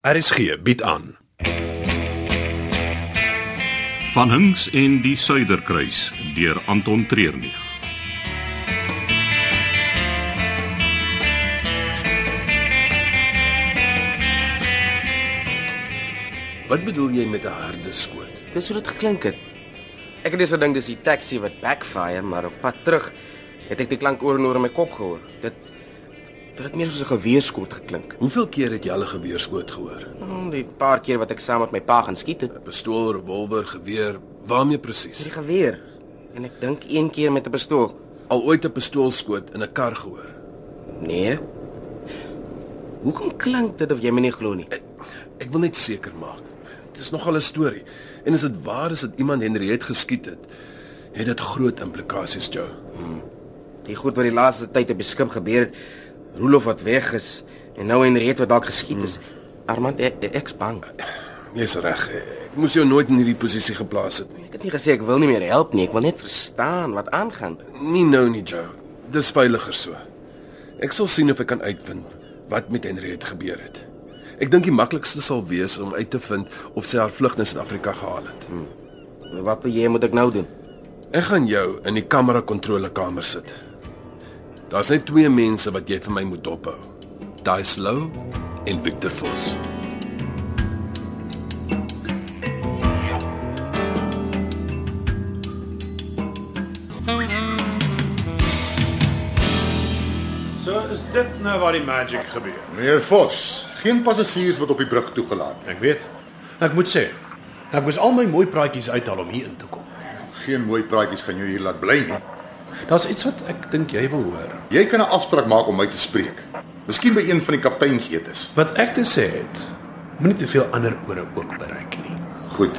RSG bied aan. Van Hinks en die Suiderkruis deur Anton Treurnig. Wat bedoel jy met 'n harde skoot? Dis hoe dit geklink het. Ek het eers gedink dis die taxi wat backfire, maar op pad terug het ek die klank oor en oor in my kop gehoor. Dit dit het meer soos 'n geweerskot geklink. Hoeveel keer het jy al 'n geweerskoot gehoor? Hmm, Die paar keer wat ek saam met my pa gaan skiet het, 'n Pistool, revolver, geweer, waarmee presies? hierdie geweer en ek dink een keer met 'n pistool. Al ooit 'n pistoolskoot in 'n kar gehoor? Nee. Hoekom klink dit of jy my nie glo nie? Ek, ek wil net seker maak. Dit is nogal 'n storie. En as dit waar is dat iemand Henriet geskiet het, het dit groot implikasies, Joe. Die goed wat die laaste tyd op die skip gebeur het, Roelof wat weg is en nou Henriet wat dalk geskiet is. Armand ek ek's bang. Jy's reg. Ek moes jou nooit in hierdie posisie geplaas het nie. Ek het nie gesê ek wil nie meer help nie, ek wil net verstaan wat aangaan. Nie nou nie, Joe. Dis veiliger so. Ek sal sien of ek kan uitvind wat met Henriet gebeur het. Ek dink die maklikste sal wees om uit te vind of sy haar vlug na Suid-Afrika gehaal het. Wat wil jy moet ek nou doen? Ek gaan jou in die kamera kontrolekamer sit. Daar's net twee mense wat jy vir my moet dophou. Daai Slou en Victor Vos. So is dit nou waar die magic gebeur. Meneer Vos, geen passasiers word op die brug toegelaat. Ek weet. Ek moet sê, ek moes al my mooi praatjies uithaal om hier in te kom. Geen mooi praatjies gaan jou hier laat bly nie. Daar's iets wat ek dink jy wil hoor. Jy kan 'n afspraak maak om my te spreek. Miskien by een van die kapteinsetes. Wat ek te sê het, moenie te veel ander ore ook bereik nie. Goed.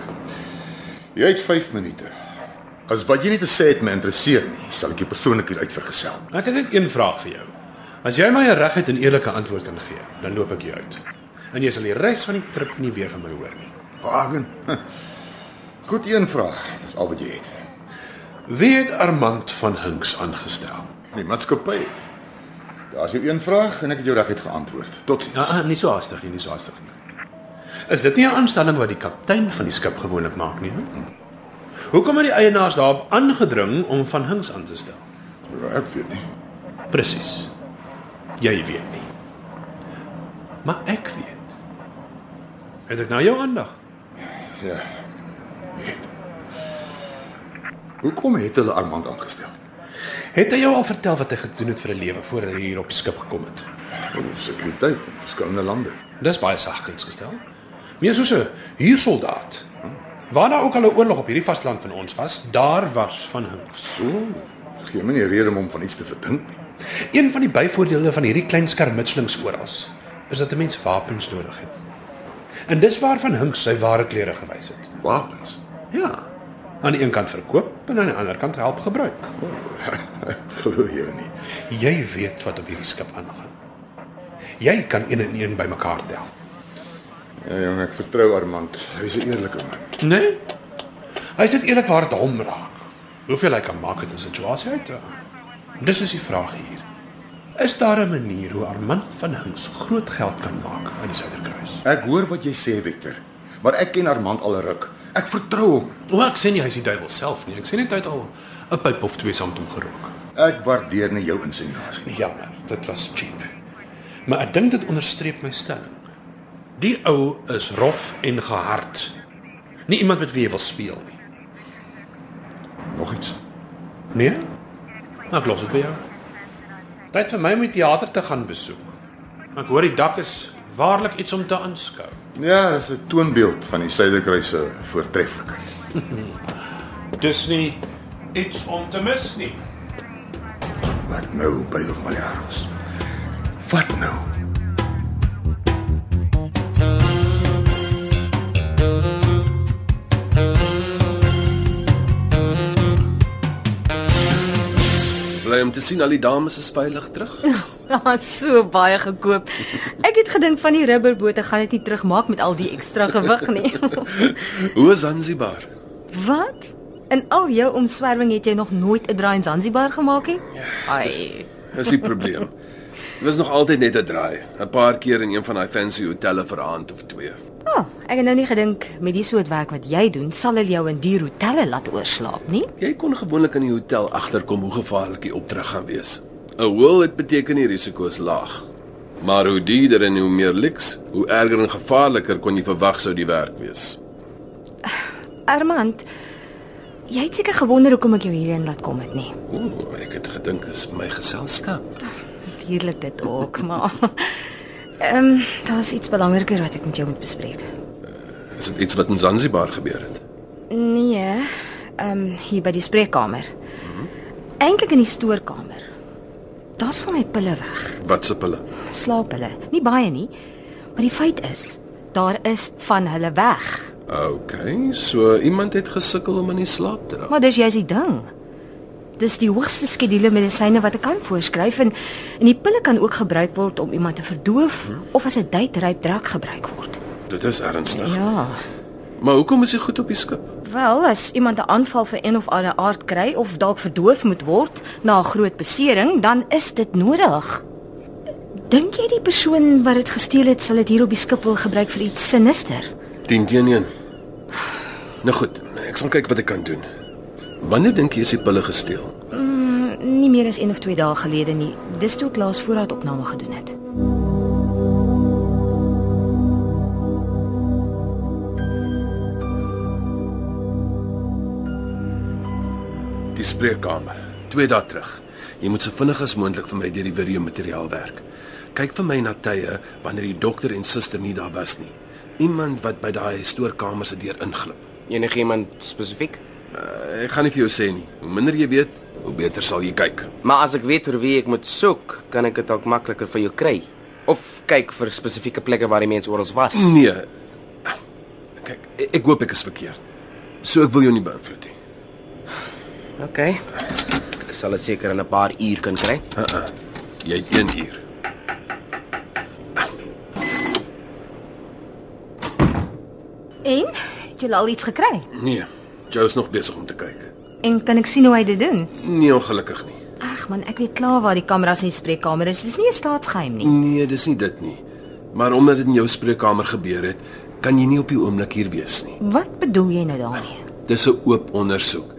Jy het 5 minute. As wat jy nie te sê het my interesseer nie, sal ek jou persoonlik hier uitvergesel. Ek het net een vraag vir jou. As jy my 'n reguit en eerlike antwoord kan gee, dan loop ek jou uit. En jy sal die res van die trip nie weer van my hoor nie. Wagen. Goed, een vraag. Dis al wat jy het. Wie het Armand van Hinks aangestel? Die maatskappy het. Daar's jou een vraag en ek het jou reguit geantwoord. Totsiens. Ah, ah, nie so haastig nie, nie so haastig nie. Is dit nie 'n aanstelling wat die kaptein van die skip gewoonlik maak nie? He? Hoekom het die eienaars daarop aangedring om van Hinks aan te stel? Ja, Ek weet nie. Presies. Jy weet nie. Maar ek weet. Het ek nou jou aandag? Ja. Weet. Hoekom het hulle Armand aangestel? Het hy jou al vertel wat hy gedoen het vir 'n lewe voor hy hier op die skip gekom het? Om sekuriteit in verskillende lande. Dis baie sagkens gestel. Meer soos 'n huursoldaat. hm? Waar daar ook al 'n oorlog op hierdie vasteland van ons was, daar was van Hinks. So, geen manier rede om hom van iets te verdink nie. Een van die byvoordele van hierdie klein skermutselings oral is dat 'n mens wapens nodig het. En dis waarvan Hinks sy ware klere gewys het. Wapens. Ja. Aan die een kant verkoop en aan die ander kant help gebruik. Ek glo jou nie. Jy weet wat op hierdie skip aangaan. Jy kan een en een bymekaar tel. Ja jong, ek vertrou Armand. Hy's 'n eerlike man. Nee? Hy sê eerlikwaar dit hom raak. Hoeveel hy kan maak uit 'n situasie uit. ja. Dis is die vraag hier. Is daar 'n manier hoe Armand van Hinks groot geld kan maak aan die Suiderkruis? Ek hoor wat jy sê, Victor, maar ek ken Armand al 'n ruk. Ek vertrou hom. O, Nou, ek sê nie hy is die duiwel self nie. Ek sê net hy het al 'n pyp of twee saam met hom gerook. Ek waardeer nie jou insinuasie nie. Jammer, Ja, dit was cheap. Maar ek dink dit onderstreep my stelling. Die ou is rof en gehard. Nie iemand met wie jy wil speel nie. Nog iets. Nee? Ek los dit by jou. Tyd vir my om die teater te gaan besoek. Ek hoor die dak is waarlik iets om te aanskou. Ja, dis 'n toonbeeld van die Suiderkruis se voortreffelikheid. Dis nie iets om te mis nie. Wat nou, Byl of Maljaros? Wat nou? Bly om te sien al die dames is veilig terug. Daar's Ah, so baie gekoop. Ek het gedink van die rubberbote gaan dit nie terugmaak met al die ekstra gewig nie. Hoe is Zanzibar? Wat? In al jou omswerwing het jy nog nooit 'n draai in Zanzibar gemaak nie? Ai. Dis die probleem. Dit was nog altyd net 'n draai, 'n paar keer in een van daai fancy hotelle vir 'n aand of twee. O, oh, ek het nou nie gedink met die soort werk wat jy doen, sal hulle jou in duur hotelle laat oorslaap nie. Jy kon gewoonlik in die hotel agterkom hoe gevaarlik die opdrag gaan wees. 'n Will het beteken die risiko is laag. Maar hoe dierder en hoe meer liks, hoe erger en gevaarliker kon jy verwag sou die werk wees. Armand, jy het seker gewonder hoekom ek jou hierheen laat kom het nie. Ooh, ek het gedink dis my geselskap. Natuurlik dit ook, maar ehm um, daar's iets belangriker wat ek met jou moet bespreek. Is dit iets wat in Zanzibar gebeur het? Nee, ehm um, hier by die spreekkamer. Eintlik in die stoorkamer. Daar's van my pille weg. Wat se pille? Slaap hulle. Nie baie nie, maar die feit is, daar is van hulle weg. Okay, so iemand het gesukkel om in die slaap te raak. Maar dis juist die ding. Dis die hoogste skedule medisyne wat ek kan voorskryf en en die pille kan ook gebruik word om iemand te verdoof of as 'n duitryp drak gebruik word. Dit is ernstig. Ja. Maar hoekom is hy goed op die skip? Wel, as iemand 'n aanval van een of ander aard kry of dalk verdoof moet word na 'n groot besering, dan is dit nodig. Dink jy die persoon wat dit gesteel het, sal dit hier op die skip wil gebruik vir iets sinister? 10 teen 1. Nou goed, ek sal kyk wat ek kan doen. Wanneer dink jy is die pille gesteel? Nie meer as 1 of 2 dae gelede nie. Dis toe ek laas voorraadopname gedoen het. Die spreekkamer. 2 dae terug. Jy moet so vinnig as moontlik vir my deur die video materiaal werk. Kyk vir my na tye wanneer die dokter en suster nie daar was nie. Iemand wat by daai stoorkamer se deur inglip. Enige iemand spesifiek? Uh, ek gaan nie vir jou sê nie. Hoe minder jy weet, hoe beter sal jy kyk. Maar as ek weet vir wie ek moet soek, kan ek dit dalk makliker vir jou kry. Of kyk vir spesifieke plekke waar die mense oral was. Nee. Kyk, ek- ek hoop ek is verkeerd. So ek wil jou nie beïnvloed nie. OK. Ek sal dit seker in 'n paar uur kan kry. Jy het 1 uur. En het jy al iets gekry? Nee, Joe is nog besig om te kyk. En kan ek sien hoe hy dit doen? Nee, ongelukkig nie. Ag man, ek weet klaar waar die kameras in die spreekkamer is. Dis nie 'n staatsgeheim nie. Nee, dis nie dit nie. Maar omdat dit in jou spreekkamer gebeur het, kan jy nie op die oomblik hier wees nie. Wat bedoel jy nou daarmee? Dis 'n oop ondersoek.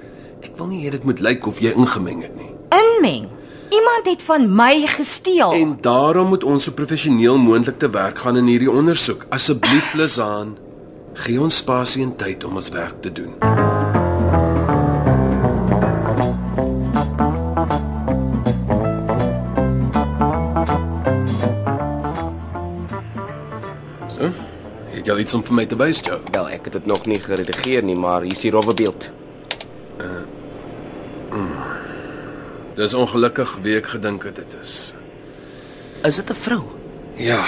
Ek wil nie hê dit moet lyk of jy ingemeng het nie. Inmeng. Iemand het van my gesteel. En daarom moet ons so professioneel moontlik te werk gaan in hierdie ondersoek. Asseblief, Lizaan, gee ons spasie en tyd om ons werk te doen. So, het jy al iets om vir my te wys, Joe? Wel, ek het dit nog nie geredigeer nie, maar hier is die rowwe beeld. Dis ongelukkig wie ek gedink het dit is. Is dit 'n vrou? Ja,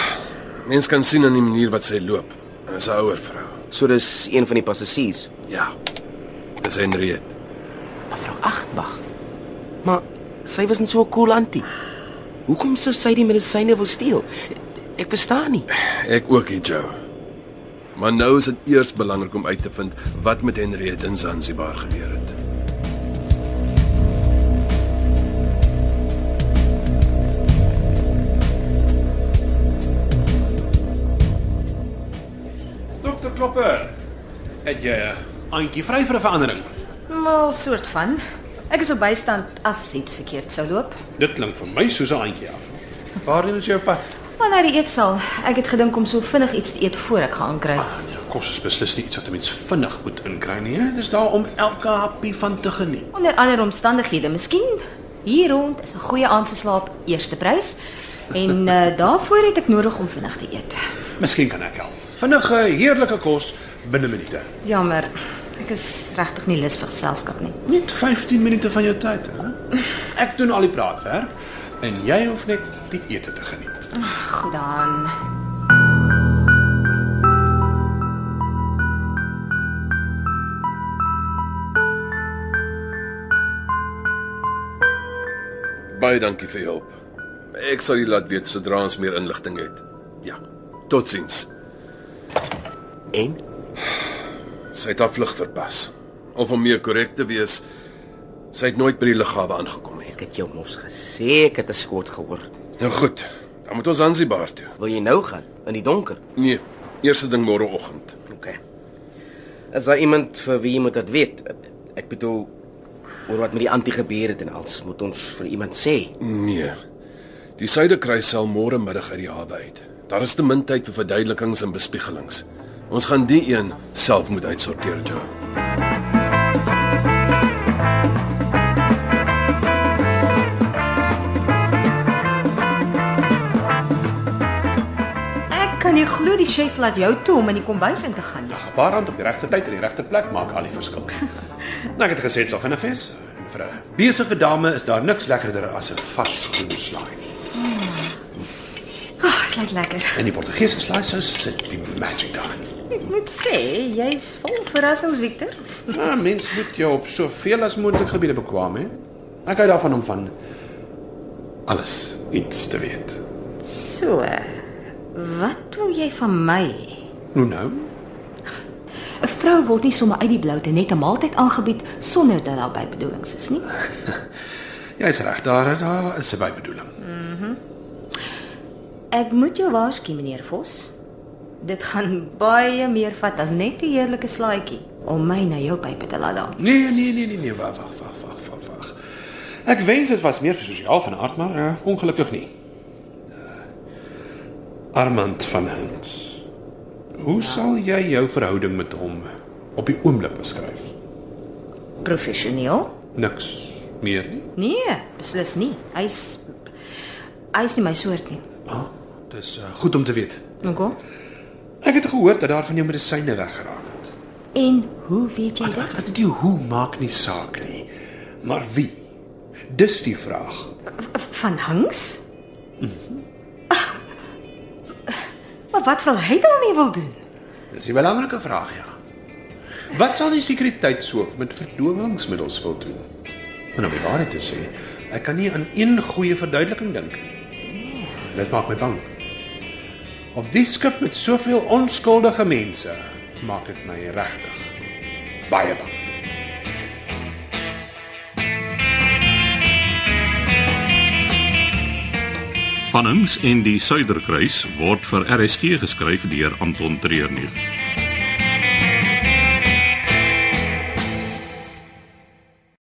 mens kan sien aan die manier wat sy loop. Dis 'n ouer vrou. So dis een van die passasiers, Ja. Dis Henriette. mevrou Agtbach. Maar sy was net so 'n cool antie. Hoekom sou sy die medisyne wil steel? Ek verstaan nie. Ek ook hier, Joe. Maar nou is dit eers belangrik om uit te vind wat met Henriette in Zanzibar gebeur het. Dokter Klopper. Het jy 'n aantjie vry vir 'n verandering? Wel, soort van. Ek is op bystand as iets verkeerd sou loop. Dit klink vir my soos 'n aantjie af. Waarheen is jou pad? Maar na die eetsaal, ek het gedink om so vinnig iets te eet voor ek gaan kry. Ah, nee, Kos is beslis nie iets wat 'n mens vinnig moet inkry nie. hè? Dit is daar om elke happie van te geniet. Onder ander omstandighede, miskien hier rond is 'n goeie aand se slaap eerste prys. En uh, daarvoor het ek nodig om vinnig te eet. Miskien kan ek help. Vinnige, heerlike kos binne minute. Jammer. Ek is regtig nie lus vir geselskap nie. Net 15 minute van jou tyd, hè? Ek doen al die praatwerk en jy hoef net die ete te geniet. Goed dan. Baie dankie vir jou hulp. Ek sal jou laat weet sodra ons meer inligting het. Ja. Totsiens. En Sy het haar vlug verpas. Of om meer korrek te wees, sy het nooit by die lughawe aangekom nie. ek het jou mos gesê ek het 'n skot gehoor. Nou goed. Dan moet ons Zanzibar toe. Wil jy nou gaan in die donker? Nee, eerste ding môreoggend. OK. Is daar iemand vir wie jy moet dit weet? Ek bedoel oor wat met die anti gebeur het en alles moet ons vir iemand sê. Nee. Die Suiderkruis sal môre middag uit die hawe uit. Daar is te min tyd vir verduidelikings en bespiegelings. Ons gaan die een self moet uitsorteer, Joe. Ek kan nie glo die chef laat jou toe om in die kombuis in te gaan. Ja, gebaar hand op die regte tyd en die regte plek maak al die verskil. nou ek het gesê dit sal vinnig wees. En vir 'n besige dame is daar niks lekkerder as 'n vars groen slaai. Ag, oh, klink lekker. En die Portugese slaaisous sit die magic daarin. Ek moet sê, jy's vol verrassings, Victor. Nou, mens moet jou op soveel as moontlik gebiede bekwam, hè. Ek hou daarvan om van alles iets te weet. So, wat wil jy van my? Nou nou, 'n Vrou word nie sommer uit die bloute net 'n maaltyd aangebied sonder dat daar bybedoelings is nie. jy's reg, daar daar is 'n bybedoeling. Ek moet jou waarsku, meneer Vos. Dit gaan baie meer vat as net 'n heerlike slaaitjie om my na jou pype te laat dans. Nee, nee, nee, nee, nee, wag, wag, wag, wag, wag, wag. Ek wens dit was meer vir sosiaal van aard, maar uh, ongelukkig nie. Uh, Armand van Hinks. Hoe sal jy jou verhouding met hom op die oomblik beskryf? Professioneel? Niks meer nie. Nee, beslis nie. Hy's hy's nie my soort nie. Ah, dis uh, goed om te weet. Hoekom? Ek het gehoor dat daar van jou medisyne weggeraak het. En hoe weet jy dit? Wat die hoe maak nie saak nie, maar wie? Dis die vraag. Van Hangs? Ah, Maar wat sal hy daarmee wil doen? Dis 'n belangrike vraag, ja. Wat sal die sekuriteitshoof met verdowingsmiddels wil doen? En om die waarheid te sê, ek kan nie aan een goeie verduideliking dink nie. Dit maak my bang. Op die skip met soveel onskuldige mense maak dit my regtig baie bang. Van Hinks en die Suiderkruis word vir RSG geskryf deur Anton Treurnig.